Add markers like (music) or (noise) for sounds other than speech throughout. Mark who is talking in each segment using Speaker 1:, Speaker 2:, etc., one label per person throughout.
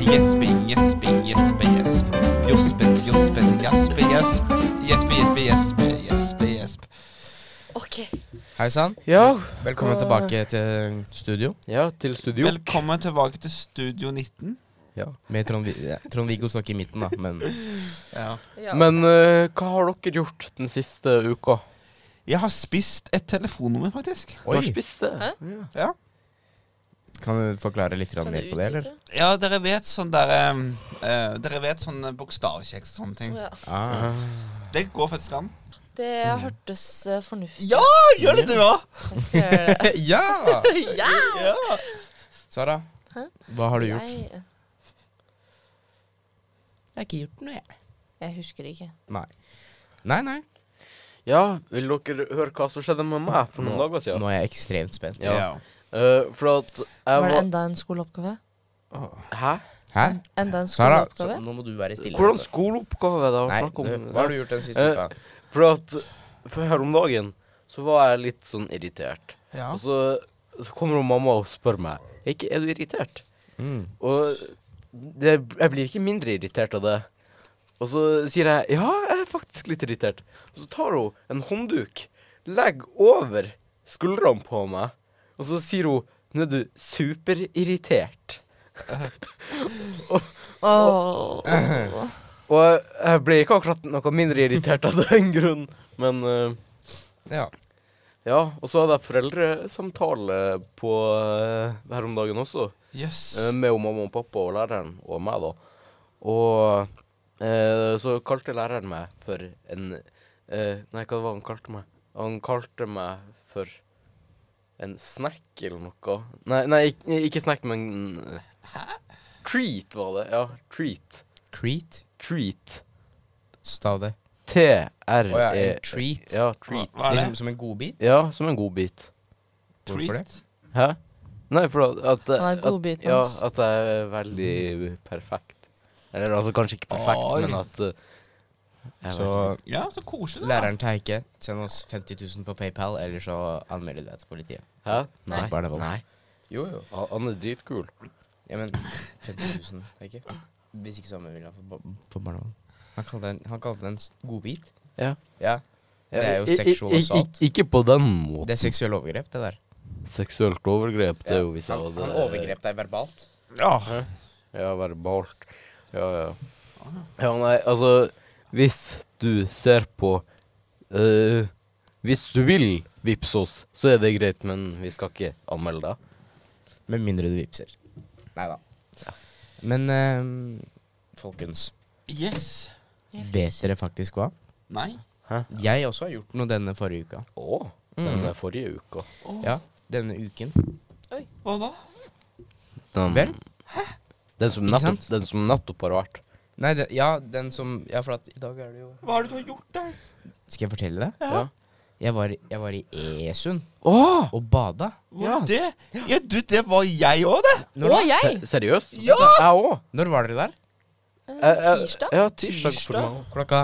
Speaker 1: Gjesping, gjesping, gjespe, gjesp. Jospet, jospet, jaspe, jasp. Gjespe, gjespe, gjespe, gjespe, gjesp.
Speaker 2: Ok.
Speaker 3: Hei sann.
Speaker 4: Ja,
Speaker 3: Velkommen tilbake til studio
Speaker 4: ja, til studio.
Speaker 1: Velkommen tilbake til Studio 19.
Speaker 3: med Trond-Viggo. Trond-Viggo står ikke i midten, da, men
Speaker 1: Ja.
Speaker 2: Ja.
Speaker 4: Men eh, hva har dere gjort den siste uka?
Speaker 1: Jeg har spist et telefonnummer, faktisk.
Speaker 4: Hva
Speaker 3: Oi.
Speaker 4: spiste
Speaker 2: Hæ?
Speaker 4: Ja.
Speaker 3: Kan du forklare litt grann
Speaker 2: Kan
Speaker 3: mer
Speaker 2: du
Speaker 3: på det, eller?
Speaker 2: utdype?
Speaker 1: Ja, dere vet sånn der eh, Dere vet sånn bokstavkjeks og sånne ting.
Speaker 2: Å, ja.
Speaker 3: Ah. (laughs)
Speaker 1: Det går faktisk an.
Speaker 2: Det
Speaker 3: Mm.
Speaker 2: hørtes eh, fornuftig
Speaker 1: Ja, gjør det du òg!
Speaker 2: Jeg skal gjøre det.
Speaker 3: ja!
Speaker 2: (laughs) ja!
Speaker 1: Ja.
Speaker 3: Sara,
Speaker 2: Hæ?
Speaker 3: hva har du gjort?
Speaker 2: Jeg,
Speaker 3: Jeg har ikke gjort noe, jeg.
Speaker 2: jeg husker ikke.
Speaker 3: Nei. Nei, nei.
Speaker 4: ja, vil dere høre hva som skjedde med meg for noen
Speaker 3: Nå-
Speaker 4: dager siden?
Speaker 3: Nå er jeg ekstremt spent.
Speaker 4: Ja. Eh, for at jeg
Speaker 2: Var
Speaker 4: var
Speaker 2: det enda en skoleoppgave?
Speaker 4: Hæ?
Speaker 3: Hæ?
Speaker 2: Enda en
Speaker 3: Sara, så,
Speaker 2: skoleoppgave?
Speaker 3: nå må du være stille.
Speaker 4: Hvordan
Speaker 3: vet du.
Speaker 4: skoleoppgave er det å
Speaker 3: Nei,
Speaker 4: snakke om?
Speaker 3: du- hva har du gjort den siste
Speaker 4: Eh,
Speaker 3: uka?
Speaker 4: For at for her om dagen så var jeg litt sånn irritert.
Speaker 1: Ja.
Speaker 4: Og så, så kommer hun mamma og spør meg Er, ikke, er du irritert.
Speaker 3: Mm.
Speaker 4: Og det, jeg blir ikke mindre irritert av det. Og så sier jeg ja, jeg er faktisk litt irritert. Og så tar hun en håndduk, legger over skuldrene på meg, og så sier hun nå er du superirritert.
Speaker 2: Åh.
Speaker 3: (clears throat)
Speaker 4: Og jeg- jeg ble ikke akkurat noe mindre irritert av den grunn, men eh,
Speaker 3: Ja.
Speaker 4: Ja, og så hadde jeg foreldresamtale på eh, her om dagen også.
Speaker 1: Jøss.
Speaker 4: eh, med jo mamma og pappa og læreren og meg, da. Og eh, så kalte læreren meg for en eh, Nei, hva det var han kalte meg? Han kalte meg for en snack eller noe. Nei, nei ik ikke snack, men Hæ? Treat var det. Ja, treat.
Speaker 3: Creet.
Speaker 4: Treat.
Speaker 3: Stav det. Å eh, ja,
Speaker 4: T-r-e
Speaker 3: en treat.
Speaker 4: Ja, treat.
Speaker 1: Hva er det?
Speaker 3: Liksom som en godbit?
Speaker 4: Ja, som en godbit.
Speaker 3: Hvorfor
Speaker 1: Treat?
Speaker 4: Hæ? Nei, for at, at,
Speaker 2: Han er
Speaker 4: at,
Speaker 2: godbiten
Speaker 4: ja,
Speaker 2: hans.
Speaker 4: at jeg er veldig perfekt. Eller altså kanskje ikke perfekt,
Speaker 1: Oi.
Speaker 4: men at uh, jeg
Speaker 3: Så
Speaker 4: vet ikke.
Speaker 1: Ja, så koselig, da.
Speaker 3: læreren Teike, send oss 50 000 på PayPal, eller så anmelder du deg til politiet.
Speaker 4: Hæ? Nei.
Speaker 3: Nei, bare det var-
Speaker 4: Nei.
Speaker 3: Jo, jo.
Speaker 4: Han- Han er dritkul.
Speaker 3: Ja, men 50 000, Teike. Hvis ikke så anmelder jeg på, på barnehagen. Han kalte den, han kalte den s- godbit.
Speaker 4: Ja.
Speaker 3: Ja. Det er jo
Speaker 4: I- i-
Speaker 3: seksual
Speaker 4: i- i-
Speaker 3: assault.
Speaker 4: Ikke på den måten.
Speaker 3: Det er seksuelle overgrep, det der.
Speaker 4: Seksuelt overgrep, det er jo hvis jeg
Speaker 3: han,
Speaker 4: hadde
Speaker 3: han overgrep deg verbalt.
Speaker 1: Ja.
Speaker 4: Ja, verbalt. Ja, ja.
Speaker 3: Ah.
Speaker 4: Ja, nei, altså Hvis du ser på eh, Hvis du vil vippse oss, så er det greit, men vi skal ikke anmelde deg.
Speaker 3: Med mindre du vipser. Nei da. Men ehm, folkens,
Speaker 1: Yes.
Speaker 3: vet dere faktisk hva?
Speaker 1: Nei.
Speaker 3: Jeg også har gjort noe denne forrige uka.
Speaker 4: Å, den er forrige uka.
Speaker 3: Ja, denne uken.
Speaker 1: Hva da?
Speaker 4: Den,
Speaker 3: Vel?
Speaker 4: Den som,
Speaker 3: Ikke
Speaker 4: nettopp,
Speaker 3: sant?
Speaker 4: den som nettopp har vært.
Speaker 3: Nei, det, ja, den som Ja, for at i dag er det jo
Speaker 1: Hva er det du har gjort der?
Speaker 3: Skal jeg fortelle det?
Speaker 4: Ja.
Speaker 3: Jeg var, jeg var i Esund
Speaker 4: Å!
Speaker 3: og bada.
Speaker 1: Hvor
Speaker 4: Ja.
Speaker 1: det? Ja, du, det var jeg òg, det.
Speaker 2: Å, jeg!
Speaker 4: Se seriøst?
Speaker 1: Ja! Mm,
Speaker 4: Det- Jeg òg.
Speaker 3: Når var dere der? Eh,
Speaker 2: Eh, Tirsdag?
Speaker 4: Ja, tirsdag. for
Speaker 1: Tirsdag?
Speaker 4: meg.
Speaker 3: Klokka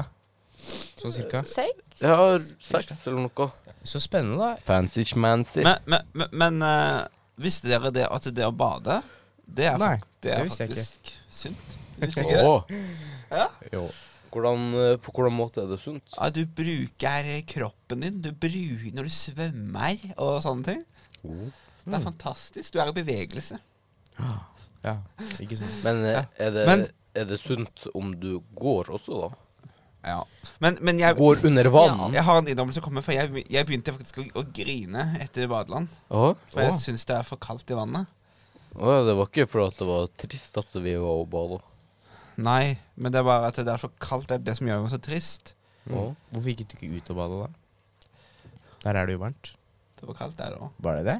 Speaker 3: sånn cirka.
Speaker 2: Seks?
Speaker 4: Jeg har seks eller noe.
Speaker 3: Så spennende, da.
Speaker 4: Fancy schmancy.
Speaker 1: Men, men, men, men eh, visste dere det at det å bade, det er,
Speaker 3: Nei,
Speaker 1: fak det er
Speaker 3: det visste jeg ikke.
Speaker 1: faktisk sunt? Du visste ikke det?
Speaker 4: Å!
Speaker 1: Ja.
Speaker 4: Jo. Hvordan, eh, på hvordan måte er det sunt?
Speaker 1: Ja, du bruker kroppen din. Du bruker når du svømmer og sånne ting. Oh. Det er fantastisk. Du er i bevegelse.
Speaker 3: Ja, ikke sant.
Speaker 4: Men eh, er det,
Speaker 1: Men-
Speaker 4: er det sunt om du går også, da?
Speaker 1: Ja. Men, men jeg,
Speaker 4: Går under vann?
Speaker 1: jeg har en innrømmelse å komme med, for jeg, jeg begynte faktisk å, å grine etter badeland.
Speaker 4: Å,
Speaker 1: For jeg syns det er for kaldt i vannet.
Speaker 4: Å, det var ikke fordi at det var trist at vi var og bada.
Speaker 1: Nei, men det er bare at det er så kaldt. Det er det som gjør meg så trist.
Speaker 4: Å.
Speaker 3: Hvorfor gikk du ikke ut og bada, da? Der er det jo varmt.
Speaker 1: Det var kaldt der òg.
Speaker 3: Var det det?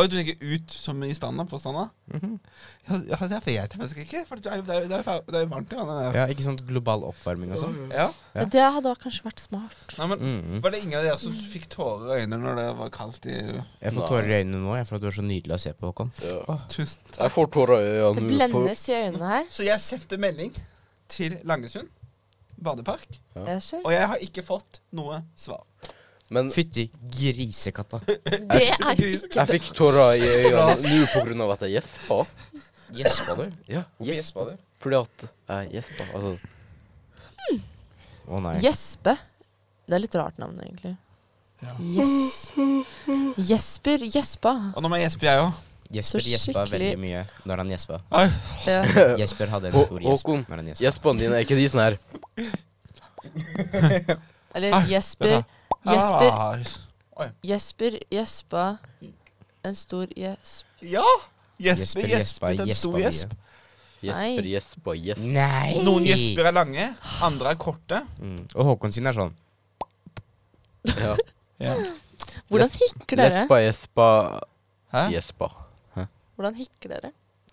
Speaker 1: Oi, du tenker ut som i standa? På standa? ja, ja, det vet jeg faktisk ikke. For det er jo- det er jo- det er jo det er jo varmt i vannet. der.
Speaker 3: Ja, ikke sant. Global oppvarming og sånn.
Speaker 1: Ja. Mm.
Speaker 3: Ja.
Speaker 2: Det hadde kanskje vært smart.
Speaker 1: Nei, men
Speaker 3: Mhm.
Speaker 1: Var det ingen av dere som fikk tårer i øynene når det var kaldt i
Speaker 3: Jeg får
Speaker 4: Nei.
Speaker 3: tårer i øynene nå, jeg, for at du er så nydelig å se på, Håkon.
Speaker 4: Ja.
Speaker 1: Tusen takk.
Speaker 4: Jeg får tårer i
Speaker 2: Det
Speaker 4: øynene nå. på-
Speaker 2: blendes i øynene her.
Speaker 1: Så jeg sendte melding til Langesund badepark,
Speaker 4: Ja.
Speaker 2: Jeg ser.
Speaker 1: og jeg har ikke fått noe svar.
Speaker 4: Men
Speaker 3: Fytti grisekatta.
Speaker 2: Det er
Speaker 1: Gris-
Speaker 2: ikke
Speaker 4: Jeg fikk tårer i øynene nå på grunn av at jeg gjespa.
Speaker 3: Gjespa du?
Speaker 4: Ja,
Speaker 3: Hvorfor gjespa du?
Speaker 4: Fordi at jeg gjespa. Altså,
Speaker 3: Å nei.
Speaker 2: Gjespe. Det er litt rart navn, egentlig. Yes. Jesper.
Speaker 3: (laughs)
Speaker 2: Gjespa.
Speaker 1: Og nå må jeg gjespe, jeg òg.
Speaker 3: Jesper
Speaker 2: Så
Speaker 3: gjespa veldig
Speaker 2: skikkelig-
Speaker 3: mye når han gjespa.
Speaker 2: Ja.
Speaker 3: Jesper hadde en
Speaker 4: Hå-
Speaker 3: stor gjesp
Speaker 4: Håkon,
Speaker 3: når han gjespa.
Speaker 4: gjespene dine er ikke de sånn her
Speaker 2: Eller Jesper. Jesper.
Speaker 1: Ah.
Speaker 2: Jesper. Gjespa. En stor gjesp.
Speaker 1: Ja! Gjespe, gjespe, en stor gjesp.
Speaker 4: Jesper,
Speaker 2: Nei.
Speaker 4: gjespa, gjesp.
Speaker 3: Nei!
Speaker 1: Noen gjesper er lange, andre er korte.
Speaker 3: Mm. Og Håkon sin er sånn.
Speaker 4: Ja.
Speaker 1: Ja.
Speaker 2: Hvordan
Speaker 4: Gjesp-
Speaker 2: hikker dere?
Speaker 4: Gjespa, gjespa,
Speaker 1: Hæ?
Speaker 4: gjespa.
Speaker 2: Hvordan hikker dere?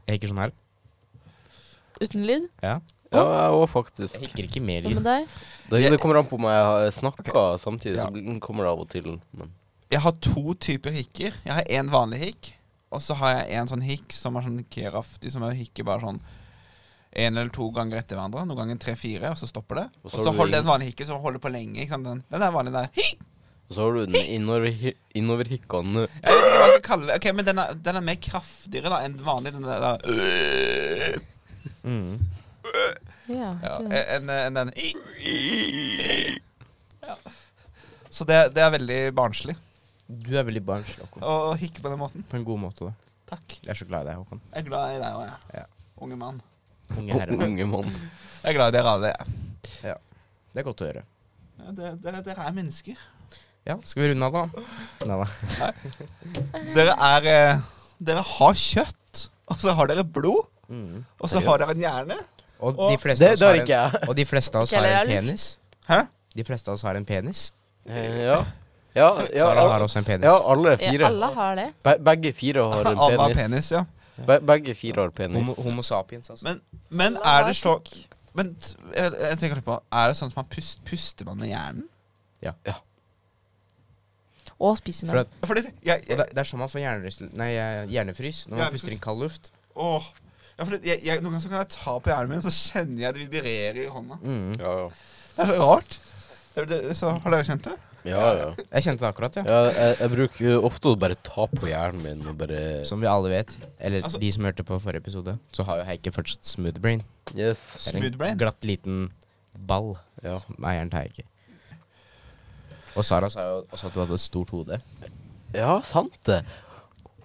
Speaker 3: Jeg hikker sånn her.
Speaker 2: Uten lyd?
Speaker 3: Ja.
Speaker 4: Ja, jeg var
Speaker 3: Jeg
Speaker 4: faktisk.
Speaker 3: hikker ikke mer
Speaker 2: Hva
Speaker 3: lyd.
Speaker 2: med deg?
Speaker 4: Det, det kommer an på om jeg har snakka samtidig.
Speaker 1: Ja.
Speaker 4: Så blir- den kommer det av og til. Men
Speaker 1: Jeg har to typer hikker. Jeg har én vanlig hikk, og så har jeg en sånn hikk som er sånn kraftig, som jeg hikker bare sånn én eller to ganger etter hverandre. Noen ganger tre-fire, og så stopper det.
Speaker 4: Og så
Speaker 1: Og
Speaker 4: har
Speaker 1: så
Speaker 4: du
Speaker 1: holder
Speaker 4: den.
Speaker 1: den vanlige hikken, så holder du på lenge. Ikke sant? Den, den er vanlig der. Hikk!
Speaker 4: Og så har du den innover- innoverhikkende
Speaker 1: Jeg vet ikke hva jeg skal kalle det. Ok, Men den er, den er mer kraftigere da enn den vanlige. Den der, der.
Speaker 3: Mm.
Speaker 2: Ja,
Speaker 1: Ja,
Speaker 2: ikke sant.
Speaker 1: enn enn den ja. Så det, det er veldig barnslig
Speaker 3: Du er veldig barnslig, Håkon.
Speaker 1: å hikke på den måten.
Speaker 3: På en god måte, da.
Speaker 1: Takk.
Speaker 3: Jeg er så glad i deg, Håkon.
Speaker 1: Jeg er glad i deg òg, jeg.
Speaker 3: Ja.
Speaker 1: Unge mann.
Speaker 3: Unge herre.
Speaker 4: unge mann.
Speaker 1: Jeg er glad i dere alle. jeg.
Speaker 3: Det er godt å høre.
Speaker 1: Ja, dere, dere, dere er mennesker.
Speaker 3: Ja, skal vi runde av, da? Nei da.
Speaker 1: Dere er eh, Dere har kjøtt, og så har dere blod,
Speaker 3: Mm.
Speaker 1: og så har dere en hjerne.
Speaker 3: Og
Speaker 1: Og-
Speaker 3: de fleste
Speaker 4: Det,
Speaker 3: av oss
Speaker 4: det har
Speaker 3: har
Speaker 4: ikke
Speaker 3: en,
Speaker 4: jeg.
Speaker 3: og de fleste av oss
Speaker 2: Ikke
Speaker 3: har en
Speaker 2: heller, jeg har
Speaker 3: penis.
Speaker 1: Hæ?
Speaker 3: De fleste av oss har en penis.
Speaker 4: Eh, Ja. Ja, ja,
Speaker 3: Sara har
Speaker 4: al-
Speaker 3: også en penis.
Speaker 4: ja, alle
Speaker 2: Ja,
Speaker 4: fire.
Speaker 2: Eh, alle har det.
Speaker 4: Be- begge fire har en
Speaker 1: (laughs) Alle har
Speaker 4: penis.
Speaker 1: penis, ja.
Speaker 4: Be begge fire har penis.
Speaker 3: Homo, homo sapiens, altså.
Speaker 1: Men, men
Speaker 2: Alle
Speaker 1: er
Speaker 2: har
Speaker 1: det så
Speaker 2: kuk.
Speaker 1: Men t- jeg, jeg tenker litt på Er det sånn at man pust, puster man med hjernen?
Speaker 2: Og spiser
Speaker 3: For
Speaker 2: med.
Speaker 3: at,
Speaker 1: Fordi jeg,
Speaker 3: og
Speaker 1: jeg,
Speaker 3: det, det er sånn man får hjernerystel- nei, eh, hjernefrys når man
Speaker 1: Hjernefrys.
Speaker 3: puster inn kald luft.
Speaker 1: Åh. Ja, for det- jeg, jeg, noen ganger så kan jeg ta på hjernen min, så kjenner jeg det vibrerer i hånda.
Speaker 3: Mm.
Speaker 4: Ja, ja.
Speaker 1: Det er så rart. Det, det, så har dere kjent det?
Speaker 4: ja, ja.
Speaker 3: Jeg kjente det akkurat, ja.
Speaker 4: ja jeg, jeg bruker eh, ofte å bare ta på hjernen min og bare
Speaker 3: Som vi alle vet, eller
Speaker 1: Altså-
Speaker 3: de som hørte på forrige episode, så har jo Heike fortsatt smooth brain.
Speaker 4: Yes.
Speaker 3: Det er en
Speaker 1: Smooth brain?
Speaker 3: Glatt liten ball
Speaker 4: Ja.
Speaker 3: som er hjernen til Heike. Og Sara sa jo også at du hadde et stort hode.
Speaker 4: Ja, sant det.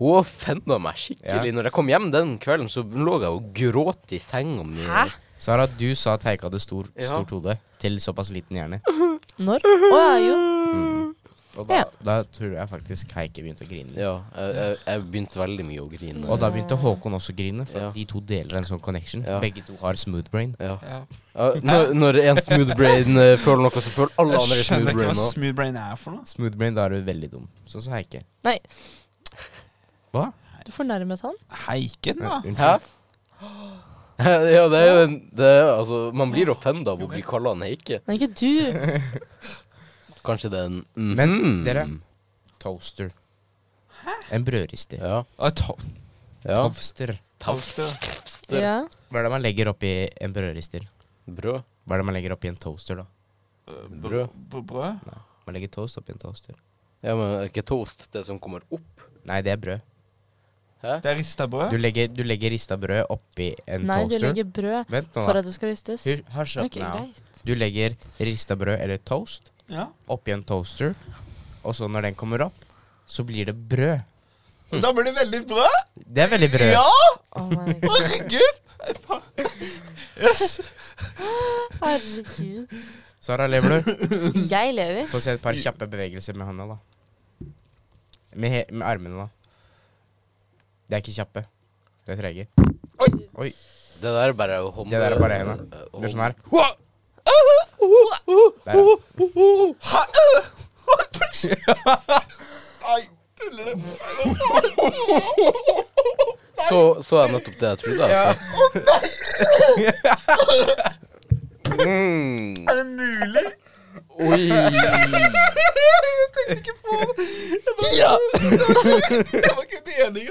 Speaker 4: Hun offenda meg skikkelig.
Speaker 3: Ja.
Speaker 4: Når jeg kom hjem den kvelden, så lå jeg og gråt i senga mi.
Speaker 2: Hæ?
Speaker 3: Sara, du sa at Heike hadde stor,
Speaker 4: Ja.
Speaker 3: stort hode til såpass liten hjerne.
Speaker 2: Når? Å ja, jo.
Speaker 3: Og da,
Speaker 2: Ja.
Speaker 3: da tror jeg faktisk Heike begynte å grine litt.
Speaker 4: Ja, jeg, jeg, jeg begynte veldig mye å grine.
Speaker 3: Og da begynte Håkon også å grine, for
Speaker 4: Ja.
Speaker 3: de to deler en sånn connection.
Speaker 4: Ja.
Speaker 3: Begge to har smooth brain.
Speaker 4: ja.
Speaker 1: Ja.
Speaker 4: Ja, når, når en smooth brain eh, føler noe, så føler alle andre
Speaker 1: Jeg
Speaker 4: smooth
Speaker 1: skjønner ikke hva
Speaker 4: brain òg.
Speaker 1: smooth brain er for noe.
Speaker 3: Smooth brain, da er du veldig dum. Sånn som Heike.
Speaker 2: Nei,
Speaker 3: Hva?
Speaker 2: du fornærmet han.
Speaker 1: Heiken, da.
Speaker 3: Unnskyld.
Speaker 4: Hæ? (laughs) Ja, det er jo en det er, Altså, man blir offenda av å bli kalla neike.
Speaker 2: Nei, ikke
Speaker 3: (laughs)
Speaker 2: du.
Speaker 4: Kanskje det er en mm-hmm.
Speaker 3: Men dere Toaster. En brødrister.
Speaker 4: Ja.
Speaker 1: Og et hov-
Speaker 4: ja.
Speaker 3: Toaster.
Speaker 4: Tafster.
Speaker 2: Ja.
Speaker 3: Hva er det man legger oppi en brødrister?
Speaker 4: Brød.
Speaker 3: Hva er det man legger oppi en toaster, da?
Speaker 1: Brød. Br- brød.
Speaker 3: Man legger toast oppi en toaster.
Speaker 4: Ja, men er ikke toast det som kommer opp?
Speaker 3: Nei, det er brød.
Speaker 4: Hæ?
Speaker 1: Det er rista
Speaker 3: Du
Speaker 1: brød.
Speaker 3: legger, du legger rista brød oppi en
Speaker 2: Nei, du
Speaker 3: toaster.
Speaker 2: legger brød
Speaker 3: Vent
Speaker 1: Sånn
Speaker 3: nå,
Speaker 2: for
Speaker 3: da.
Speaker 2: at det skal ristes.
Speaker 3: Hør- Hør
Speaker 2: Ok,
Speaker 3: opp nå.
Speaker 2: greit.
Speaker 3: Du legger rista brød eller toast
Speaker 1: Ja.
Speaker 3: oppi en toaster, og så når den kommer opp, så blir det brød.
Speaker 1: Og Da blir det veldig brød!
Speaker 3: Det er veldig brød.
Speaker 1: Ja!
Speaker 2: Oh my god.
Speaker 1: Herregud!
Speaker 2: Herregud.
Speaker 3: Sara, lever du? (laughs)
Speaker 2: Jeg lever.
Speaker 3: Få se et par kjappe bevegelser med hånda, da. Med, he med armene, da. Det er ikke kjappe. Det er trege. Oi.
Speaker 4: Det der er bare hånd...
Speaker 3: Det der er bare henda.
Speaker 4: Eh,
Speaker 3: Gjør sånn her. Der, ja.
Speaker 1: Ha, øh! Ai, tuller du?
Speaker 4: Så, så er nettopp det jeg trodde. Altså. Mm. (laughs)
Speaker 1: Er det mulig?
Speaker 4: Oi.
Speaker 1: Jeg tenkte ikke på det. Jeg bare, ja. jeg var ikke helt enig.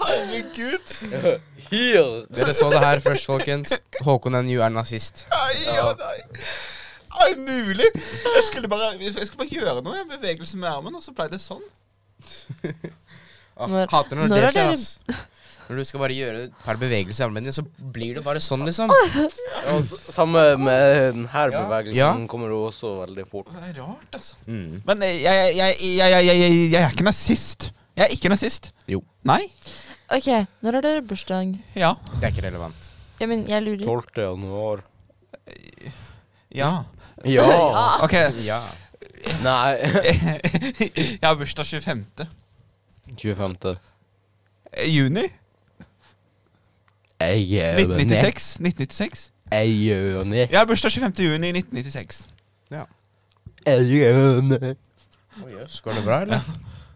Speaker 1: Herregud.
Speaker 4: Here.
Speaker 3: Dere så det her først, folkens. Håkon NU er nazist.
Speaker 1: Nei, ja, nei. Er det mulig? Jeg skulle bare, jeg skulle bare gjøre noe. En bevegelse med armen, og så ble det sånn.
Speaker 3: Ah,
Speaker 2: Når-
Speaker 3: hater når,
Speaker 2: når
Speaker 3: det
Speaker 2: er
Speaker 3: skjer,
Speaker 2: dere-
Speaker 3: ass. Når du skal bare gjøre et par bevegelser i armene dine, så blir det bare sånn, liksom.
Speaker 4: Ja, s- samme med denne
Speaker 3: Ja.
Speaker 4: bevegelsen
Speaker 3: Ja.
Speaker 4: kommer jo også veldig fort.
Speaker 1: Det er rart, altså.
Speaker 3: Mm.
Speaker 1: Men eh, jeg, jeg, jeg, jeg, jeg, jeg, jeg er ikke nazist. Jeg er ikke nazist.
Speaker 3: Jo.
Speaker 1: Nei?
Speaker 2: Ok, når er det bursdag?
Speaker 1: Ja.
Speaker 3: Det er ikke relevant.
Speaker 2: Ja, men jeg lurer
Speaker 4: 12. januar.
Speaker 1: Ja.
Speaker 2: (laughs)
Speaker 4: Ja!
Speaker 1: OK. (laughs)
Speaker 3: Ja.
Speaker 4: Nei.
Speaker 3: (laughs)
Speaker 1: jeg har bursdag 25.
Speaker 4: 25.
Speaker 1: eh, juni
Speaker 4: Jeg er
Speaker 1: 1996. 1996.
Speaker 4: Jeg er enig.
Speaker 1: Jeg har bursdag 25. juni 1996.
Speaker 4: Jeg er enig.
Speaker 3: Oi, jøss. Går det bra, eller?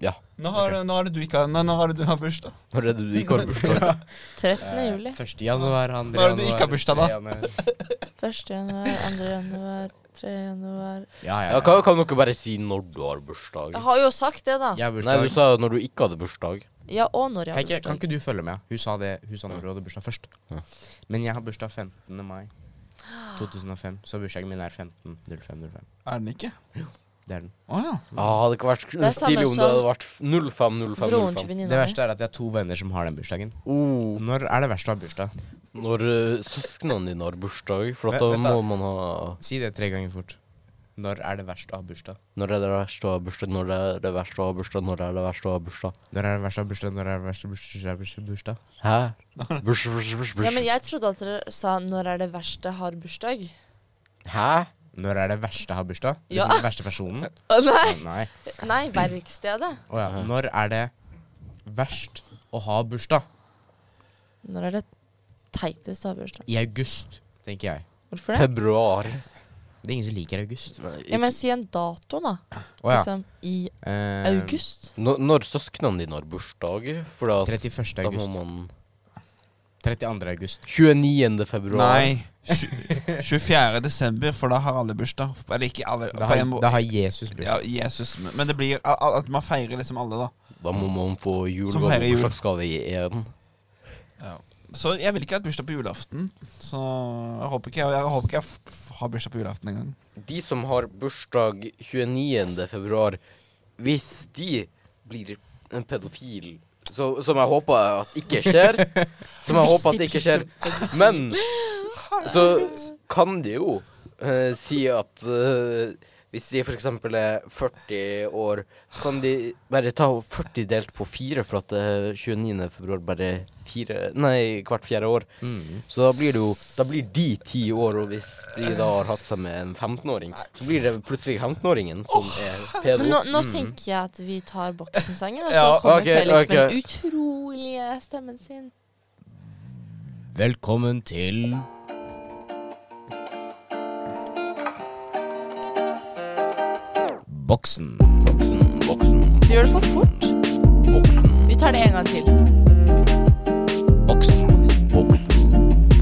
Speaker 4: Ja.
Speaker 1: Nå har, nå har det du ikke har Nå, nå har det du har bursdag.
Speaker 4: Når er det du ikke har bursdag?
Speaker 2: 13. juli.
Speaker 3: 1. januar, 2.
Speaker 1: Hva er det du ikke har bursdag, da?
Speaker 3: da?
Speaker 2: 1. januar, 2. januar, 3. januar
Speaker 3: Ja, ja,
Speaker 4: Ja,
Speaker 3: ja.
Speaker 4: kan, kan dere bare si når du har bursdag?
Speaker 2: Jeg har jo sagt det, da.
Speaker 3: Jeg har
Speaker 4: Nei, du
Speaker 3: bursdag.
Speaker 4: sa jo når du ikke hadde bursdag.
Speaker 2: Ja, og når jeg har
Speaker 3: Heike, kan
Speaker 2: bursdag.
Speaker 3: ikke du følge med? Hun sa det Hun sa når du hadde bursdag først.
Speaker 4: Ja.
Speaker 3: Men jeg har bursdag 15. mai 2005, så bursdagen min er 15.05.05.
Speaker 1: Er den ikke?
Speaker 3: Det er den.
Speaker 1: Å ja.
Speaker 4: Ja, Ah, hadde ikke vært
Speaker 2: er samme
Speaker 4: stilig om det
Speaker 2: som-
Speaker 4: hadde vært 0505.
Speaker 2: Broren til venninna
Speaker 3: Det
Speaker 2: mi.
Speaker 3: verste er at jeg har to venner som har den bursdagen.
Speaker 4: Oh,
Speaker 3: Når er det verst å ha bursdag?
Speaker 4: når eh, søsknene dine har bursdag, for
Speaker 3: Vent-
Speaker 4: at da
Speaker 3: vent da.
Speaker 4: må man ha
Speaker 3: Si det tre ganger fort. Når er det verst å ha bursdag?
Speaker 4: Når er det verst å ha bursdag? Når er det verst å ha bursdag? Når er det verst å ha bursdag?
Speaker 3: Når er det verst å ha bursdag? Når er det verst å ha bursdag? Når er det verst å ha bursdag?
Speaker 4: Hæ? Burs, burs, burs, burs.
Speaker 2: Ja, men jeg trodde at dere sa 'når er det verst jeg har bursdag'?
Speaker 4: Hæ?
Speaker 3: Når er det verste å ha bursdag?
Speaker 2: Ja.
Speaker 3: Liksom den verste personen?
Speaker 2: Å nei!
Speaker 3: Nei.
Speaker 2: Nei, verkstedet.
Speaker 3: Å ja. Når er det verst å ha bursdag?
Speaker 2: Når er det teitest å ha bursdag?
Speaker 3: I august, tenker jeg.
Speaker 2: Hvorfor det?
Speaker 4: Februar.
Speaker 3: Det er ingen som liker august.
Speaker 4: Nei,
Speaker 2: Ja, men si en dato, da.
Speaker 3: Å ja.
Speaker 2: Liksom i
Speaker 3: Eh,
Speaker 2: august.
Speaker 4: Når, når søsknene dine har bursdag, for da,
Speaker 3: 31.
Speaker 4: da må
Speaker 3: august.
Speaker 4: man
Speaker 3: 32. august.
Speaker 4: 29. februar.
Speaker 1: Nei. Tju- 24. desember, for da har alle bursdag. Eller ikke alle.
Speaker 3: Da
Speaker 1: på
Speaker 3: har,
Speaker 1: en må-
Speaker 3: da har Jesus bursdag.
Speaker 1: ja, Jesus. men- Men det blir a- a- at man feirer liksom alle, da.
Speaker 4: Da må man få
Speaker 1: Som
Speaker 4: julegave
Speaker 1: feirer
Speaker 4: og
Speaker 1: jul.
Speaker 4: bursdagsgave i én.
Speaker 1: Så jeg vil ikke ha et bursdag på julaften. Så jeg håper ikke jeg, jeg, håper ikke jeg f- f- har bursdag på julaften engang.
Speaker 4: De som har bursdag 29. februar, hvis de blir en pedofil så, Som jeg håper at ikke skjer. Som jeg
Speaker 2: Hvis de
Speaker 4: håper at ikke
Speaker 2: blir
Speaker 4: skjer. Men så kan de jo eh, si at eh, hvis de f.eks. er 40 år, så kan de bare ta 40 delt på 4, for at eh, 29. februar bare fire Nei, hvert fjerde år.
Speaker 3: Mm.
Speaker 4: Så da blir det jo Da blir de ti år, og hvis de da har hatt seg med en 15-åring, så blir det plutselig 15-åringen som er pedo.
Speaker 2: Men nå, nå tenker jeg at vi tar boksensangen, og så
Speaker 1: Ja,
Speaker 2: kommer
Speaker 4: ok,
Speaker 2: Felix med
Speaker 4: ok.
Speaker 2: den utrolige stemmen sin.
Speaker 3: Velkommen til Boksen.
Speaker 4: Boksen, boksen,
Speaker 2: Du gjør det for fort.
Speaker 4: boksen,
Speaker 2: Vi tar det en gang til.
Speaker 3: Boksen.
Speaker 4: boksen,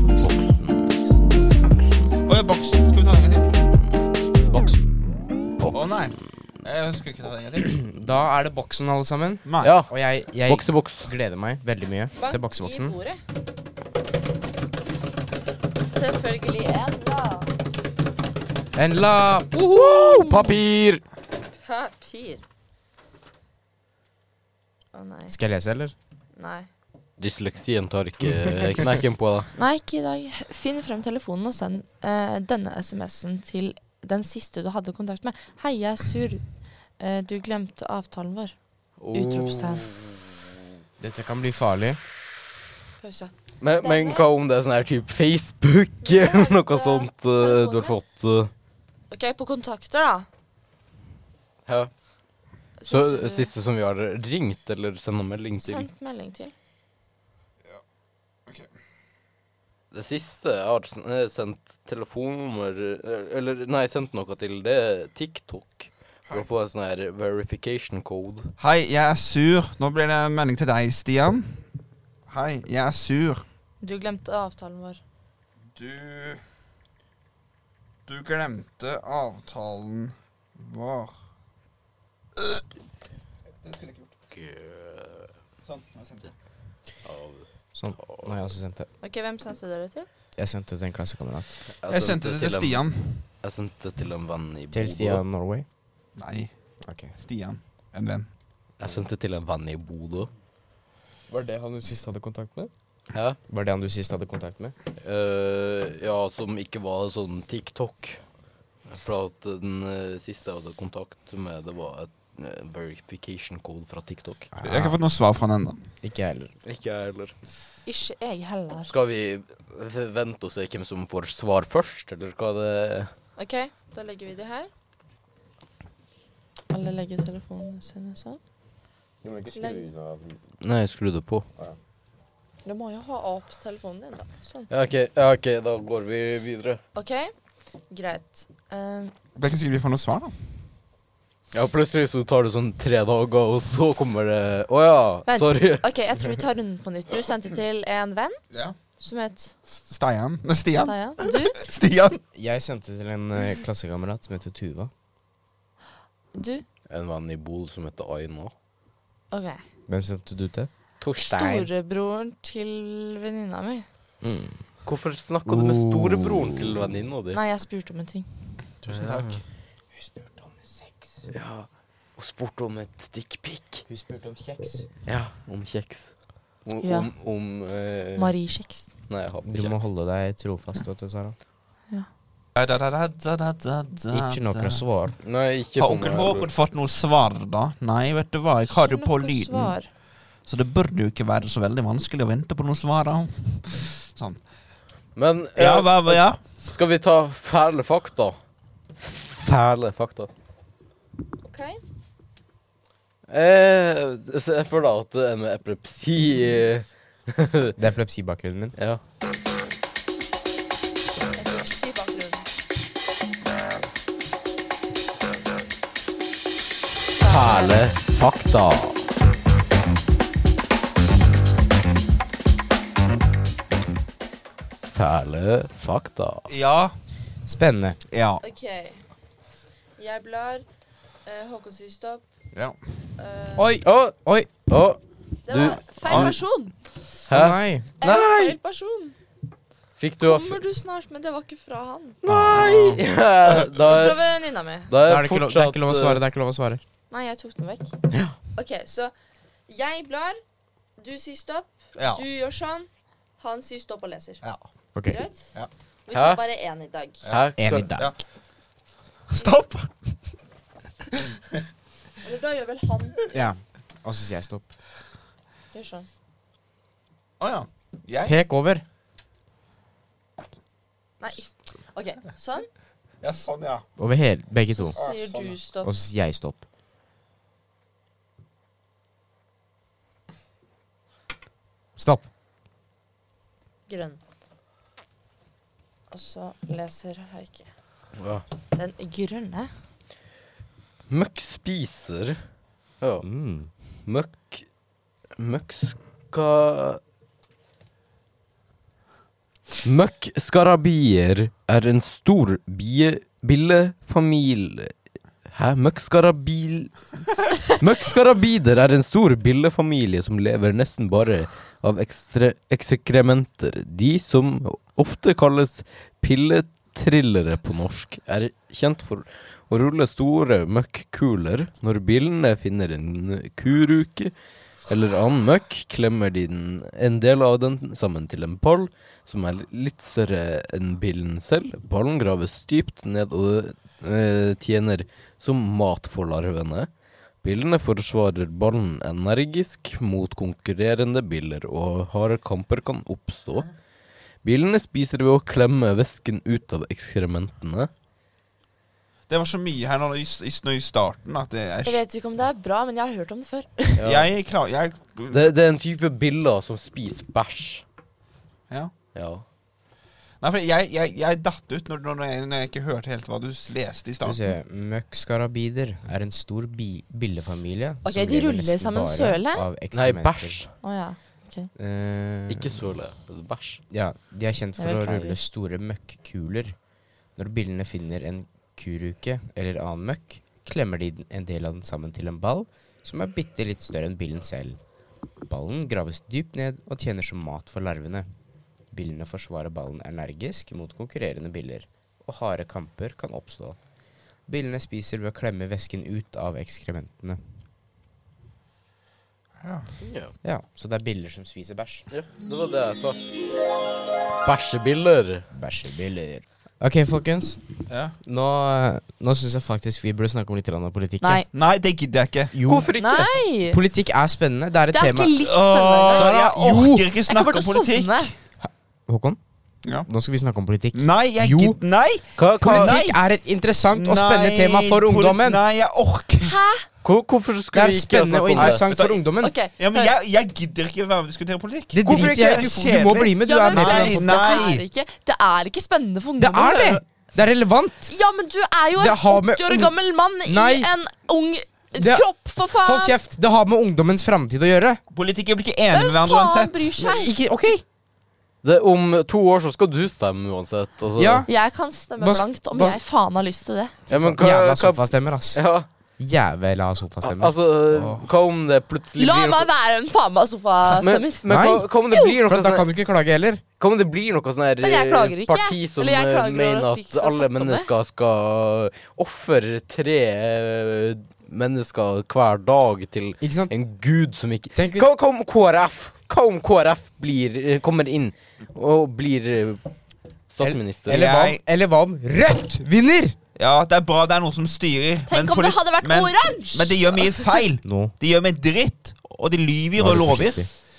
Speaker 4: boksen, boksen.
Speaker 1: Oi, boks. Skal vi ta den en gang til?
Speaker 3: Boksen.
Speaker 1: Å nei. Jeg skulle ikke ta den en gang til.
Speaker 3: Da er det boksen, alle sammen.
Speaker 1: Nei.
Speaker 4: Ja.
Speaker 3: Og jeg, jeg
Speaker 4: Bokseboks.
Speaker 3: gleder meg veldig mye til bokseboksen.
Speaker 2: bordet. Selvfølgelig en, da.
Speaker 3: En lapp!
Speaker 4: Papir!
Speaker 2: Papir. Å nei.
Speaker 3: Skal jeg lese, eller?
Speaker 2: Nei.
Speaker 4: Dysleksien tar ikke knekken på deg.
Speaker 2: Nei, ikke i dag. Finn frem telefonen og send eh, denne SMS-en til den siste du hadde kontakt med. Hei, jeg er sur. Eh, du glemte avtalen vår. Utropstegn.
Speaker 3: Dette kan bli farlig.
Speaker 2: Pause.
Speaker 4: Men, men hva om det er sånn her type Facebook (laughs) eller noe sånt eh, du har fått? eh,
Speaker 2: OK, på kontakter, da.
Speaker 4: Hæ? Så
Speaker 2: du-
Speaker 4: siste som vi har ringt eller sendt melding til?
Speaker 2: Sendt melding til.
Speaker 4: Det siste jeg har sen- eh, sendt telefonnummer eh, Eller nei, sendt noe til, det er TikTok. For å få en sånn her verification code.
Speaker 1: Hei, jeg er sur. Nå blir det en melding til deg, Stian. Hei, jeg er sur.
Speaker 2: Du glemte avtalen vår.
Speaker 1: Du Du glemte avtalen vår. Det skulle jeg ikke gjort. Sånn. nå har jeg sendt det.
Speaker 3: Sånn. Nå har jeg også sendt det.
Speaker 2: OK, hvem sendte dere til?
Speaker 3: Jeg sendte det til en klassekamerat.
Speaker 1: Jeg sendte det til
Speaker 4: en-
Speaker 1: Stian.
Speaker 4: Jeg sendte det til en venn i
Speaker 3: Til
Speaker 4: Bodø.
Speaker 3: Stian Norway.
Speaker 1: Nei,
Speaker 3: Ok.
Speaker 1: Stian. En venn.
Speaker 4: Jeg sendte det til en venn i Bodø.
Speaker 3: Var det han du sist hadde kontakt med?
Speaker 4: Ja.
Speaker 3: Var det han du sist hadde kontakt med?
Speaker 4: Eh, ja, som ikke var sånn TikTok. For at den eh, siste jeg hadde kontakt med, det var et eh, verification code fra TikTok.
Speaker 1: Jeg har ikke fått noe svar fra han ennå.
Speaker 3: Ikke jeg heller.
Speaker 4: Ikke jeg heller.
Speaker 2: Ikke jeg heller.
Speaker 4: Skal vi v- vente og se hvem som får svar først, eller hva det er?
Speaker 2: OK, da legger vi det her. Alle legger telefonene sine sånn.
Speaker 5: Du må ikke
Speaker 2: skru Legg.
Speaker 5: av
Speaker 4: Nei, skru det på.
Speaker 2: Du må jo ha opp telefonen din, da. Sånn.
Speaker 4: Ja, OK, ja, ok, da går vi videre.
Speaker 2: OK, greit. Ehm,
Speaker 1: Det er ikke sikkert vi får noe svar, da.
Speaker 4: Ja, plutselig så tar det sånn tre dager, og så kommer det Å ja,
Speaker 2: Vent.
Speaker 4: sorry.
Speaker 2: OK, jeg tror vi tar runden på nytt. Du sendte til en venn
Speaker 1: Ja.
Speaker 2: som het
Speaker 1: Stian. Nei, Stian.
Speaker 2: Deia. Du,
Speaker 1: Stian.
Speaker 3: Jeg sendte til en eh, klassekamerat som heter Tuva.
Speaker 2: du.
Speaker 4: En venn i Bol som heter Aina.
Speaker 2: OK.
Speaker 3: Hvem sendte du til?
Speaker 2: Storebroren til venninna mi.
Speaker 3: Mm.
Speaker 4: Hvorfor snakka du med storebroren til venninna di?
Speaker 2: Nei, jeg spurte om en ting.
Speaker 1: Tusen takk.
Speaker 3: Hun spurte om sex.
Speaker 4: Ja, og spurte om et dickpic.
Speaker 3: Hun spurte om kjeks.
Speaker 4: Ja, om kjeks. Om,
Speaker 2: Ja.
Speaker 4: om, om eh,
Speaker 2: Marie Kjeks.
Speaker 4: Nei, jeg har
Speaker 3: Du
Speaker 4: ikke
Speaker 3: må
Speaker 4: kjeks.
Speaker 3: holde deg trofast, vet du, Sara. Ikke
Speaker 1: Ikke
Speaker 3: noe svar.
Speaker 4: Nei, ikke
Speaker 1: Har
Speaker 4: på
Speaker 1: onkel
Speaker 4: meg,
Speaker 1: Håkon fått noe svar, da? Nei, vet du hva, jeg har jo på
Speaker 2: Noe
Speaker 1: lyden.
Speaker 2: svar.
Speaker 1: Så det burde jo ikke være så veldig vanskelig å vente på noe svar, da. Sånn.
Speaker 4: Men eh,
Speaker 1: Ja, hva, hva, ja.
Speaker 4: skal vi ta fæle fakta? Fæle fakta.
Speaker 2: OK.
Speaker 4: Eh, så jeg føler at det er med epilepsi (laughs) eh,
Speaker 3: Det er epilepsibakgrunnen min.
Speaker 4: Ja.
Speaker 2: Epilepsi bakgrunn.
Speaker 4: Fæle fakta. Fæle fakta.
Speaker 1: Ja.
Speaker 3: Spennende.
Speaker 1: Ja.
Speaker 2: OK. Jeg blar. Eh, Håkon sier stopp.
Speaker 1: ja.
Speaker 2: Eh,
Speaker 3: Oi!
Speaker 4: Å,
Speaker 3: Oi!
Speaker 4: å,
Speaker 2: det
Speaker 4: du-
Speaker 2: var feil person!
Speaker 4: hæ?
Speaker 3: Nei.
Speaker 2: En feil person.
Speaker 4: Fikk du
Speaker 2: Kommer du snart? Men det var ikke fra han.
Speaker 4: Nei! da
Speaker 2: Fra (laughs)
Speaker 4: er,
Speaker 2: venninna mi.
Speaker 4: da
Speaker 3: Da
Speaker 4: er,
Speaker 3: er det, ikke lov, det er ikke lov å svare. Det er ikke lov å svare.
Speaker 2: Nei, jeg tok den vekk. OK, så jeg blar. Du sier stopp.
Speaker 1: Ja.
Speaker 2: Du gjør sånn. Han sier stopp og leser.
Speaker 1: ja.
Speaker 3: Ok.
Speaker 2: Greit?
Speaker 1: Ja.
Speaker 2: Vi tar
Speaker 4: Hæ?
Speaker 2: bare én i dag.
Speaker 4: eh, Hæ?
Speaker 3: En i dag.
Speaker 1: Ja. Stopp!
Speaker 2: Eller da gjør vel han
Speaker 3: Ja. Og så sier jeg stopp.
Speaker 2: Gjør sånn.
Speaker 1: Å ja. Jeg?
Speaker 3: Pek over.
Speaker 2: Nei. OK, sånn.
Speaker 1: Ja, sånn, ja.
Speaker 3: Over hele, begge to.
Speaker 2: Så
Speaker 1: Ah,
Speaker 2: gjør
Speaker 1: sånn, ja.
Speaker 2: du
Speaker 3: Og
Speaker 2: stopp.
Speaker 3: så sier jeg stopp. Stopp.
Speaker 2: Grønn. Og så leser Haike.
Speaker 4: Ja.
Speaker 2: Den grønne.
Speaker 4: Møkk spiser Ja.
Speaker 3: Mm.
Speaker 4: Møkk Møkk ska... Møkkskarabiner er en stor bie... billefamilie Hæ? Møkkskarabin... Møkkskarabiner er en stor billefamilie som lever nesten bare av ekstre, eksekrementer. De som ofte kalles pillethrillere på norsk, er kjent for å rulle store møkkkuler. Når billene finner en kuruke eller annen møkk, klemmer de den, en del av den sammen til en ball som er litt større enn billen selv. Ballen graves dypt ned og eh, tjener som mat for larvene. Billene forsvarer ballen energisk mot konkurrerende biller, og harde kamper kan oppstå. Billene spiser ved å klemme væsken ut av ekskrementene.
Speaker 1: Det var så mye her nå i, i, nå i starten at det er
Speaker 2: Jeg vet ikke om det er bra, men jeg har hørt om det før.
Speaker 1: Jeg klarer Jeg
Speaker 4: Det, det er en type biller som spiser bæsj.
Speaker 1: Ja.
Speaker 4: Ja.
Speaker 1: Nei, for jeg, jeg, jeg datt ut når, når, jeg, når jeg ikke hørte helt hva du s- leste i
Speaker 3: Skal vi se.
Speaker 1: starten.
Speaker 3: Møkkskarabider er en stor bi billefamilie.
Speaker 2: Ok,
Speaker 3: som
Speaker 2: de
Speaker 3: lever
Speaker 2: ruller
Speaker 3: nesten
Speaker 2: sammen
Speaker 3: bare
Speaker 2: søle?
Speaker 3: av
Speaker 4: Nei,
Speaker 3: ekskrementer.
Speaker 4: bæsj.
Speaker 2: Å ja. OK.
Speaker 3: Eh,
Speaker 4: Ikke søle. Bæsj.
Speaker 3: Ja, de er kjent for
Speaker 2: Jeg
Speaker 3: å
Speaker 2: beklager.
Speaker 3: rulle store møkkkuler. Når billene finner en kuruke eller annen møkk, klemmer de den- en del av den sammen til en ball som er bitte litt større enn billen selv. Ballen graves dypt ned og tjener som mat for larvene. Billene forsvarer ballen energisk mot konkurrerende biller, og harde kamper kan oppstå. Billene spiser ved å klemme væsken ut av ekskrementene.
Speaker 1: Ja.
Speaker 4: Ja.
Speaker 3: Ja, så det er biller som spiser bæsj.
Speaker 4: ja, det var det jeg sa. Bæsjebiller.
Speaker 3: Bæsjebiller. Ok, folkens.
Speaker 1: Ja.
Speaker 3: Nå, nå syns jeg faktisk vi burde snakke om litt grann om politikk.
Speaker 2: Nei.
Speaker 1: Nei, det gidder jeg ikke.
Speaker 3: Jo,
Speaker 4: Hvorfor ikke?
Speaker 2: Nei!
Speaker 3: politikk er spennende. Det er et
Speaker 2: Det er
Speaker 3: tema.
Speaker 2: ikke litt
Speaker 1: Åh,
Speaker 2: spennende.
Speaker 1: jeg
Speaker 3: Jo.
Speaker 1: orker ikke
Speaker 2: Jeg kommer
Speaker 1: snakke
Speaker 2: til
Speaker 1: om
Speaker 2: å
Speaker 1: politikk.
Speaker 2: sovne.
Speaker 3: Håkon,
Speaker 1: Ja.
Speaker 3: nå skal vi snakke om politikk.
Speaker 1: Nei, jeg
Speaker 3: Jo.
Speaker 1: gidder Nei!
Speaker 4: Hva, hva,
Speaker 1: Nei.
Speaker 3: Politikk er et interessant og spennende
Speaker 1: Nei,
Speaker 3: tema for
Speaker 1: poli-
Speaker 3: ungdommen.
Speaker 1: Nei, jeg orker
Speaker 4: hvor, hvorfor
Speaker 3: Det
Speaker 4: skulle
Speaker 3: er
Speaker 4: vi ikke
Speaker 3: spennende og
Speaker 4: snakke om det?
Speaker 3: interessant for ungdommen.
Speaker 2: Ok,
Speaker 1: ja, men
Speaker 2: hør.
Speaker 1: jeg, jeg gidder ikke være med og diskutere politikk.
Speaker 3: Det
Speaker 1: Hvorfor
Speaker 3: driter
Speaker 1: ikke?
Speaker 3: jeg i. Du, du må
Speaker 1: Kjedelig.
Speaker 3: bli med. Du
Speaker 2: Ja,
Speaker 3: er
Speaker 2: men
Speaker 3: med. i
Speaker 1: Nei,
Speaker 3: den
Speaker 2: det,
Speaker 1: nei.
Speaker 2: er ikke, det er ikke spennende for
Speaker 3: Det
Speaker 2: ungdommen.
Speaker 3: er
Speaker 2: å
Speaker 3: det!
Speaker 2: høre.
Speaker 3: Det er relevant.
Speaker 2: Ja, men du er jo en
Speaker 3: Det har med
Speaker 2: 80 år
Speaker 3: ung-
Speaker 2: gammel mann
Speaker 3: Nei.
Speaker 2: i en ung
Speaker 3: Det-
Speaker 2: kropp, for faen!
Speaker 3: Hold kjeft. Det har med ungdommens framtid å gjøre.
Speaker 1: Politikere blir ikke enige med
Speaker 2: Hvem
Speaker 1: hverandre
Speaker 2: faen
Speaker 1: uansett.
Speaker 2: bryr seg?
Speaker 3: Ikke, ok
Speaker 4: Det, om to år så skal du stemme uansett. Altså.
Speaker 3: Ja.
Speaker 2: Jeg kan stemme
Speaker 3: Hva sk-
Speaker 2: blankt om
Speaker 3: hva-
Speaker 2: jeg faen har lyst til det.
Speaker 4: ja, men hva,
Speaker 3: Jævla
Speaker 4: hva,
Speaker 3: sofastemmer, ass.
Speaker 4: ja,
Speaker 3: Jævla sofastemmer.
Speaker 4: altså, hva om det plutselig
Speaker 2: La
Speaker 4: blir
Speaker 2: meg være en faen meg
Speaker 4: Men,
Speaker 2: sofastemmer.
Speaker 4: men
Speaker 3: Nei.
Speaker 4: hva, hva om det blir
Speaker 3: For
Speaker 4: noe
Speaker 3: da
Speaker 4: sånn
Speaker 3: kan du ikke klage heller.
Speaker 4: Hva om det blir noe sånn her
Speaker 2: Men jeg klager
Speaker 4: eh,
Speaker 2: ikke,
Speaker 4: parti
Speaker 2: jeg.
Speaker 4: som
Speaker 2: Eller jeg
Speaker 4: eh,
Speaker 2: klager over
Speaker 4: mener
Speaker 2: at
Speaker 4: at,
Speaker 2: vi ikke skal
Speaker 4: alle
Speaker 2: snakke om det.
Speaker 4: mennesker skal ofre tre eh, mennesker hver dag til
Speaker 3: Ikke sant?
Speaker 4: en gud som ikke
Speaker 3: Tenk hvis-
Speaker 4: Hva, hva om KrF Hva om KrF blir, eh, kommer inn og blir eh, statsminister?
Speaker 3: Eller hva, om-
Speaker 1: Jeg-
Speaker 3: eller hva om Rødt vinner?
Speaker 1: Ja, det er bra det er noen som styrer.
Speaker 2: Tenk om det
Speaker 1: polit-
Speaker 2: hadde vært
Speaker 1: men,
Speaker 2: oransje!
Speaker 1: Men de gjør mye feil.
Speaker 3: Nå.
Speaker 1: De gjør mye dritt. Og de lyver og lover.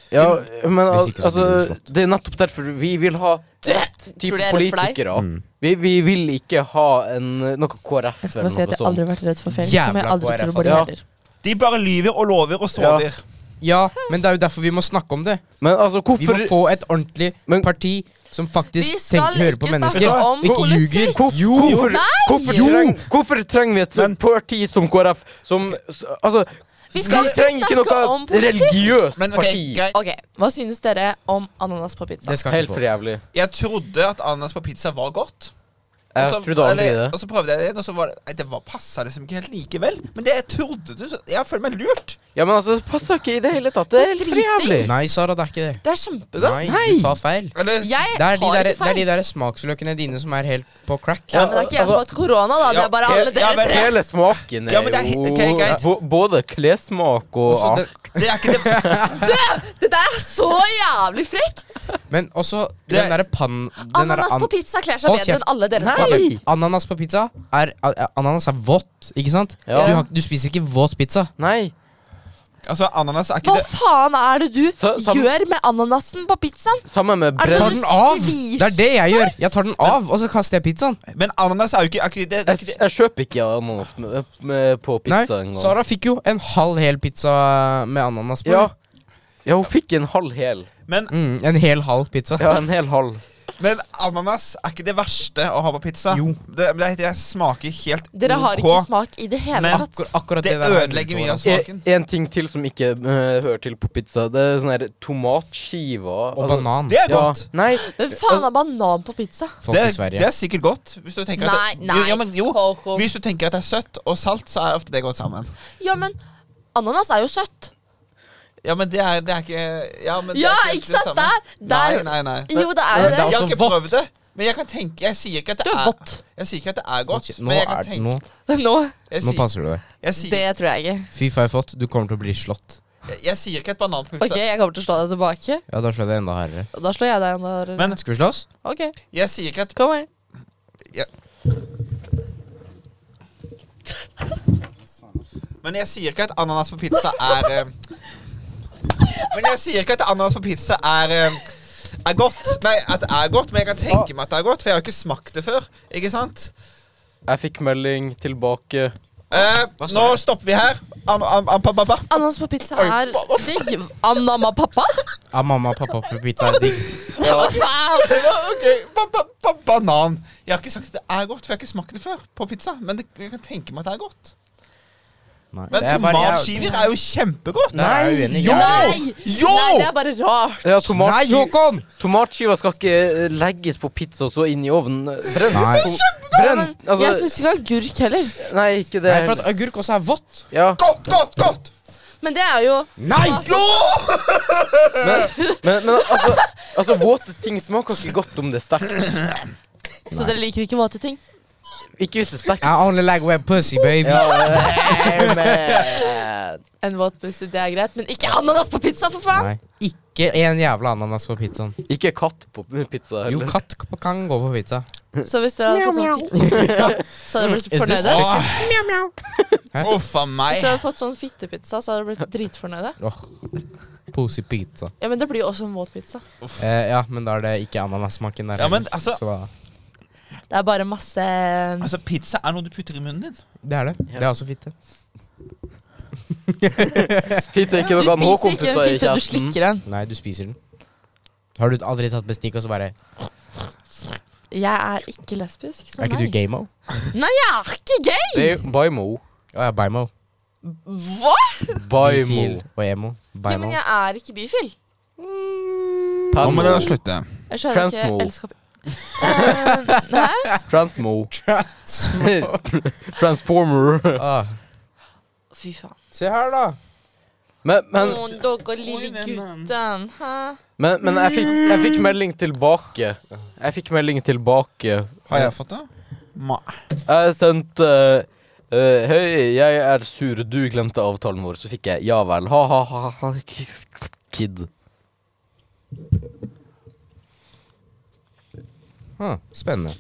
Speaker 4: ja, men al-
Speaker 3: Hvis ikke så blir
Speaker 4: altså
Speaker 3: det slått.
Speaker 4: Det er nettopp derfor vi vil ha
Speaker 2: Du,
Speaker 4: rett
Speaker 2: tror
Speaker 4: type
Speaker 2: du jeg er redd for deg?
Speaker 4: politikere.
Speaker 3: Mm.
Speaker 4: Vi, vi vil ikke ha en, noe KrF
Speaker 2: Jeg skal bare si at jeg aldri har vært redd for feil.
Speaker 3: Jævla
Speaker 2: Som jeg aldri tror
Speaker 3: KrF,
Speaker 2: på det
Speaker 4: altså.
Speaker 2: heller.
Speaker 1: De bare lyver og lover og sårer.
Speaker 3: Ja, men det er jo derfor vi må snakke om det.
Speaker 4: Men altså,
Speaker 3: Vi må
Speaker 4: hvorfor
Speaker 3: få et ordentlig
Speaker 4: Men-
Speaker 3: parti som faktisk
Speaker 2: Vi skal
Speaker 3: tenker, hører på
Speaker 2: ikke
Speaker 3: mennesker.
Speaker 2: snakke om
Speaker 3: ikke
Speaker 2: politikk.
Speaker 3: ljuger.
Speaker 4: Hvorf- hvorfor, hvorfor,
Speaker 3: Jo!
Speaker 4: treng, hvorfor trenger vi et sånt parti som KrF, som s- Altså,
Speaker 2: Vi skal ikke
Speaker 4: trenger ikke
Speaker 2: snakke om
Speaker 4: noe
Speaker 2: politikk.
Speaker 4: religiøst parti.
Speaker 2: Ok, Hva synes dere om ananas på pizza?
Speaker 3: Det skal
Speaker 4: Helt
Speaker 3: ikke
Speaker 4: for
Speaker 3: på.
Speaker 4: jævlig.
Speaker 1: Jeg trodde at ananas på pizza var godt. Og
Speaker 4: Jeg
Speaker 1: så-
Speaker 4: trodde aldri
Speaker 1: Altså, eller-
Speaker 4: det.
Speaker 1: Og så prøvde jeg det, og så var det Nei, det var passa liksom ikke helt likevel. Men det jeg trodde du så- Jeg føler meg lurt.
Speaker 4: Ja, men altså, det passer ikke i det hele tatt. Det er helt for jævlig.
Speaker 3: Nei, Sara, det er ikke det.
Speaker 2: Det er kjempegodt.
Speaker 3: Nei,
Speaker 4: Nei.
Speaker 3: du tar feil.
Speaker 1: Eller
Speaker 2: Jeg
Speaker 3: Det
Speaker 2: har
Speaker 3: er de der,
Speaker 2: ikke
Speaker 3: det er
Speaker 2: feil.
Speaker 3: de der smaksløkene dine som er helt på crack.
Speaker 2: Ja, men det er ikke jeg som har hatt korona, da. Det er bare
Speaker 1: Ja, ja,
Speaker 2: alle dere
Speaker 1: men-
Speaker 2: tre.
Speaker 4: Hele smaken er
Speaker 1: Ja, men det er-
Speaker 4: jo
Speaker 1: ok, greit. Altså,
Speaker 4: bo- Både klessmak og
Speaker 3: Også
Speaker 4: art.
Speaker 3: den,
Speaker 1: Det er ikke det
Speaker 2: (laughs) Det der er så jævlig frekt!
Speaker 3: men også
Speaker 1: Det-
Speaker 3: den derre pann... den derre
Speaker 2: Ananas
Speaker 3: an-
Speaker 2: på pizza kler seg
Speaker 3: Hold
Speaker 2: bedre
Speaker 3: kjeft.
Speaker 2: enn alle dere
Speaker 4: Nei!
Speaker 2: sammen.
Speaker 3: Ananas på pizza er a- Ananas er vått, ikke sant?
Speaker 4: Ja.
Speaker 3: Du, har, du spiser ikke våt pizza.
Speaker 4: Nei.
Speaker 1: Altså, ananas er ikke
Speaker 2: Hva
Speaker 1: det
Speaker 2: faen er det du
Speaker 4: Så- sammen-
Speaker 2: gjør med ananasen på pizzaen?
Speaker 4: Sammen med
Speaker 2: Er Altså, det
Speaker 3: Tar
Speaker 4: brent
Speaker 3: den av!
Speaker 2: skviser.
Speaker 3: Det er det jeg gjør. Jeg tar den av, og så kaster jeg pizzaen.
Speaker 1: Men ananas er jo ikke, er ikke, det, det er
Speaker 4: jeg,
Speaker 1: ikke
Speaker 4: s-
Speaker 1: det.
Speaker 4: jeg kjøper ikke ananas med- med- på
Speaker 3: Nei,
Speaker 4: pizza engang.
Speaker 3: Sara fikk jo en halv hel pizza med ananas på.
Speaker 4: Ja. ja, hun fikk en halv hel.
Speaker 1: Men,
Speaker 3: Mm, en hel halv pizza.
Speaker 4: Ja, en hel halv.
Speaker 1: men ananas er ikke det verste å ha på pizza.
Speaker 3: Jo.
Speaker 1: Det, det, det smaker helt
Speaker 2: Dere har
Speaker 1: OK.
Speaker 2: ikke smak i det hele
Speaker 1: Men-
Speaker 2: tatt.
Speaker 3: Akkur akkurat
Speaker 1: Det
Speaker 3: det der er
Speaker 1: ødelegger
Speaker 3: litt
Speaker 1: mye av
Speaker 3: overraskende.
Speaker 1: smaken.
Speaker 4: Eh, En ting til som ikke eh, hører til på pizza. Det er sånn her tomatskiver.
Speaker 3: Og banan.
Speaker 1: altså. Det er
Speaker 4: Ja,
Speaker 1: godt.
Speaker 4: nei,
Speaker 2: Hvem faen har banan på pizza?
Speaker 3: Folk
Speaker 1: Det,
Speaker 3: i
Speaker 1: er-
Speaker 3: Sverige.
Speaker 1: det er sikkert godt. Hvis du tenker
Speaker 2: Nei,
Speaker 1: at det,
Speaker 2: nei,
Speaker 1: Jo, ja, men, jo,
Speaker 2: Håkon.
Speaker 1: hvis du tenker at det er søtt og salt, så er ofte det godt sammen.
Speaker 2: Ja, men ananas er jo søtt.
Speaker 1: Ja, men det er, det er ikke Ja, men det
Speaker 2: Ja,
Speaker 1: er
Speaker 2: ikke
Speaker 1: det
Speaker 2: sant?
Speaker 1: samme.
Speaker 2: Der!
Speaker 1: Nei,
Speaker 2: der.
Speaker 1: nei, nei.
Speaker 2: Jo, det er jo
Speaker 3: Men det er
Speaker 2: det.
Speaker 1: Jeg har
Speaker 3: også
Speaker 1: ikke
Speaker 3: altså, vått.
Speaker 1: prøvd det, altså- men jeg kan tenke Jeg sier ikke at det
Speaker 2: Det er
Speaker 1: er (laughs)
Speaker 2: vått.
Speaker 1: Jeg sier ikke at det er godt,
Speaker 3: Nå,
Speaker 1: men jeg kan
Speaker 3: er,
Speaker 1: tenke
Speaker 3: nå,
Speaker 2: Nå,
Speaker 1: Jeg
Speaker 3: nå
Speaker 1: sier,
Speaker 3: passer du deg.
Speaker 1: jeg sier,
Speaker 2: det tror jeg ikke.
Speaker 3: Fy fifot, du kommer til å bli slått.
Speaker 1: jeg, jeg sier ikke at
Speaker 2: Ok,
Speaker 1: bananpølse
Speaker 2: jeg kommer til å slå deg tilbake.
Speaker 3: Ja, da slår jeg deg enda hardere.
Speaker 2: Og da slår jeg deg igjen. da,
Speaker 1: Men-
Speaker 3: Skal vi slåss?
Speaker 2: Ok,
Speaker 1: Jeg sier ikke at
Speaker 2: kom her.
Speaker 1: Men jeg sier ikke at ananas på pizza er eh, Men jeg sier ikke at ananas på pizza er eh, er godt. Nei, at det er godt, men jeg kan tenke meg at det er godt, for jeg har ikke smakt det før. Ikke sant?
Speaker 4: jeg fikk melding tilbake.
Speaker 1: Eh,
Speaker 3: Hva sa
Speaker 1: nå
Speaker 3: jeg?
Speaker 1: stopper vi her. An, an, an, pa, pa, pa.
Speaker 2: Ananas på pizza
Speaker 1: Oi,
Speaker 2: er
Speaker 1: hva- hva
Speaker 2: digg. Anamma pappa?
Speaker 3: Ja, mamma og pappa på
Speaker 1: (laughs)
Speaker 3: pizza er digg.
Speaker 2: Hva faen?
Speaker 1: Det var ok. Ba, ba, ba, banan. Jeg har ikke sagt at det er godt, for jeg har ikke smakt det før på pizza. Men det, jeg kan tenke meg at det er godt.
Speaker 3: Nei,
Speaker 1: Men
Speaker 3: det er bare-
Speaker 1: tomatskiver er jo kjempegodt.
Speaker 3: Nei, jeg er uenig.
Speaker 1: Jo!
Speaker 2: Nei!
Speaker 1: Jo!
Speaker 2: Nei, det er bare rart.
Speaker 4: Ja,
Speaker 3: Nei,
Speaker 4: tomatskiver,
Speaker 3: Håkon!
Speaker 4: tomatskiver skal ikke eh, legges på pizza og så inn i ovnen. Brenn.
Speaker 3: Nei.
Speaker 2: Men
Speaker 4: Brenn.
Speaker 2: jeg
Speaker 4: Altså,
Speaker 2: syns ikke agurk heller.
Speaker 4: nei, ikke det.
Speaker 3: Nei, for at agurk også er vått.
Speaker 4: Ja,
Speaker 1: Godt, godt, godt!
Speaker 2: Men det er jo
Speaker 3: Nei!
Speaker 1: Jo!
Speaker 4: men, men altså, altså Våte ting smaker ikke godt om det er sterkt.
Speaker 2: Så dere liker ikke våte ting?
Speaker 4: Ikke hvis det er sterkt.
Speaker 3: I only like wet pussy, baby.
Speaker 4: Ja, eh, man.
Speaker 2: En våtbuse, det er greit, men ikke ananas på pizza, for faen!
Speaker 3: Nei. Ikke en jævla ananas på pizzaen.
Speaker 4: Ikke katt på pizza
Speaker 3: Jo,
Speaker 4: heller.
Speaker 3: katt k- kan gå på
Speaker 1: (laughs)
Speaker 3: pizza.
Speaker 2: Så hvis dere hadde fått sånn fittepizza, så hadde dere blitt
Speaker 3: Is this
Speaker 2: fornøyde.
Speaker 3: chicken?
Speaker 1: Åh,
Speaker 3: Hæ?
Speaker 1: Uff a
Speaker 2: Hvis
Speaker 1: meg.
Speaker 2: dere hadde fått sånn fittepizza, så hadde dere blitt dritfornøyde.
Speaker 3: Åh, Pose pizza.
Speaker 2: Ja, men det blir jo også en våtpizza.
Speaker 3: Eh, ja, men da er det ikke ananassmaken der.
Speaker 1: Ja, men
Speaker 3: heller.
Speaker 1: altså-
Speaker 3: Så da-
Speaker 2: Det er bare masse
Speaker 1: Altså, pizza er noe du putter i munnen din.
Speaker 3: det er det. Det er også fitte.
Speaker 4: Fitte er
Speaker 2: Du
Speaker 4: ikke noe
Speaker 2: spiser ikke
Speaker 4: annet
Speaker 2: en
Speaker 4: Håkon putta i
Speaker 2: fitte, du
Speaker 4: kjeften.
Speaker 2: slikker den.
Speaker 3: Nei, du spiser den. Har du aldri tatt bestikk og så bare
Speaker 2: Jeg er ikke lesbisk, så
Speaker 3: Er ikke
Speaker 2: nei.
Speaker 3: du gamo?
Speaker 2: Nei, jeg er ikke gay!
Speaker 4: Det er jo Baimo.
Speaker 3: Å ja, bimo.
Speaker 2: Hva?!
Speaker 4: Baimo.
Speaker 3: Bifil og emo.
Speaker 2: Ja,
Speaker 3: Bimo.
Speaker 2: men jeg er ikke bifil.
Speaker 1: Nå må dere
Speaker 4: Panmo.
Speaker 1: slutte.
Speaker 2: Jeg skjønner ikke
Speaker 4: Transmo.
Speaker 2: elskap... Eh, Hæ?
Speaker 4: (laughs) Transmo.
Speaker 3: Transmo.
Speaker 4: Transformer.
Speaker 3: Åh,
Speaker 2: (laughs) Fy faen.
Speaker 3: se her, da.
Speaker 4: Men, men,
Speaker 2: Å, dere lille
Speaker 1: Oi, men,
Speaker 2: gutten. Hæ?
Speaker 4: men, men jeg, fikk, jeg fikk melding tilbake. Jeg fikk melding tilbake.
Speaker 1: Har jeg fått det? Ma.
Speaker 4: Jeg sendte eh, Hei, jeg er sur, du glemte avtalen vår. Så fikk jeg ja vel. Ha-ha-ha. Kid.
Speaker 3: Ah, spennende.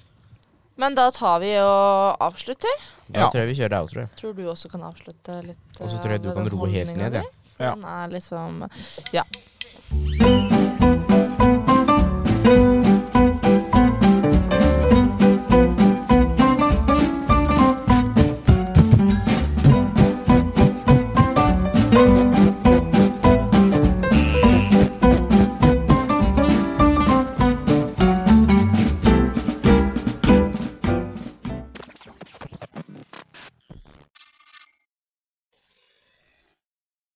Speaker 2: Men da tar vi og avslutter.
Speaker 3: Da
Speaker 1: Ja.
Speaker 3: tror jeg vi kjører outro. jeg.
Speaker 2: Tror du også kan avslutte litt.
Speaker 3: Og så tror jeg
Speaker 2: eh,
Speaker 3: du
Speaker 2: med
Speaker 3: kan
Speaker 2: den
Speaker 3: roe helt
Speaker 2: holdningen
Speaker 3: ned.
Speaker 2: din?
Speaker 3: jeg.
Speaker 1: Ja.
Speaker 2: Den er liksom Ja.